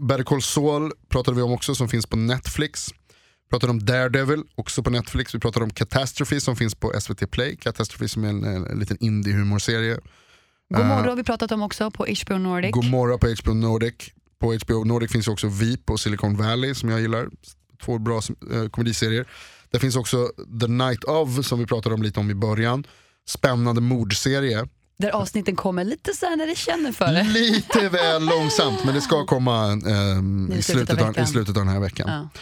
[SPEAKER 2] Better Call Saul pratade vi om också som finns på Netflix. Vi pratade om Daredevil, också på Netflix. Vi pratade om Catastrophe som finns på SVT Play. Catastrophe som är en, en, en liten indie-humorserie.
[SPEAKER 1] God morgon har vi pratat om också på HBO Nordic.
[SPEAKER 2] Gomorra på HBO Nordic. På HBO Nordic finns också VIP och Silicon Valley som jag gillar. Två bra eh, komediserier. Det finns också The Night of som vi pratade om lite om i början. Spännande mordserie.
[SPEAKER 1] Där avsnitten kommer lite så här när det känner för
[SPEAKER 2] Mm.
[SPEAKER 1] det.
[SPEAKER 2] Lite väl långsamt men det ska komma ehm, i,
[SPEAKER 1] I slutet
[SPEAKER 2] slutet
[SPEAKER 1] av
[SPEAKER 2] av, i
[SPEAKER 1] veckan.
[SPEAKER 2] slutet av den här veckan.
[SPEAKER 1] Ja.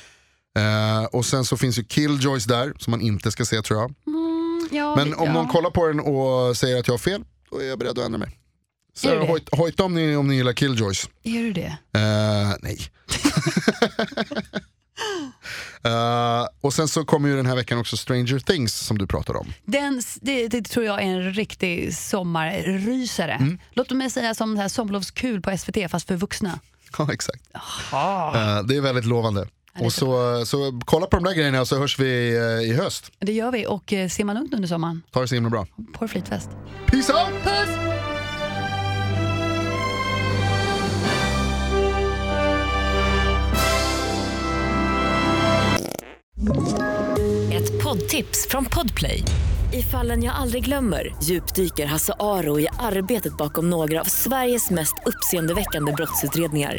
[SPEAKER 2] Eh, och sen så finns ju Killjoys där, som man inte ska se tror jag.
[SPEAKER 1] Mm, ja,
[SPEAKER 2] Men
[SPEAKER 1] vi-
[SPEAKER 2] om
[SPEAKER 1] ja.
[SPEAKER 2] någon kollar på den och säger att jag har fel, då är jag beredd att ändra mig. Så
[SPEAKER 1] Är du det?
[SPEAKER 2] hojt, hojta om ni, om ni gillar Killjoys.
[SPEAKER 1] Är du det?
[SPEAKER 2] Eh, nej. Eh, och sen så kommer ju den här veckan också Stranger Things som du pratade om.
[SPEAKER 1] Den, s- det, det tror jag är en riktig sommarrysare. Låt mig säga som det här sommarlovskul på SVT fast för vuxna.
[SPEAKER 2] Ja, exakt. Eh, det är väldigt lovande. Och så, så kolla på de där grejerna och så hörs vi eh, i höst.
[SPEAKER 1] Det gör vi och eh, ser man ungt under sommaren,
[SPEAKER 2] Ta det så himla bra.
[SPEAKER 1] på flytväst.
[SPEAKER 2] Peace out!
[SPEAKER 1] Puss!
[SPEAKER 3] Ett poddtips från Podplay. I fallen jag aldrig glömmer djupdyker Hasse Aro i arbetet bakom några av Sveriges mest uppseendeväckande brottsutredningar.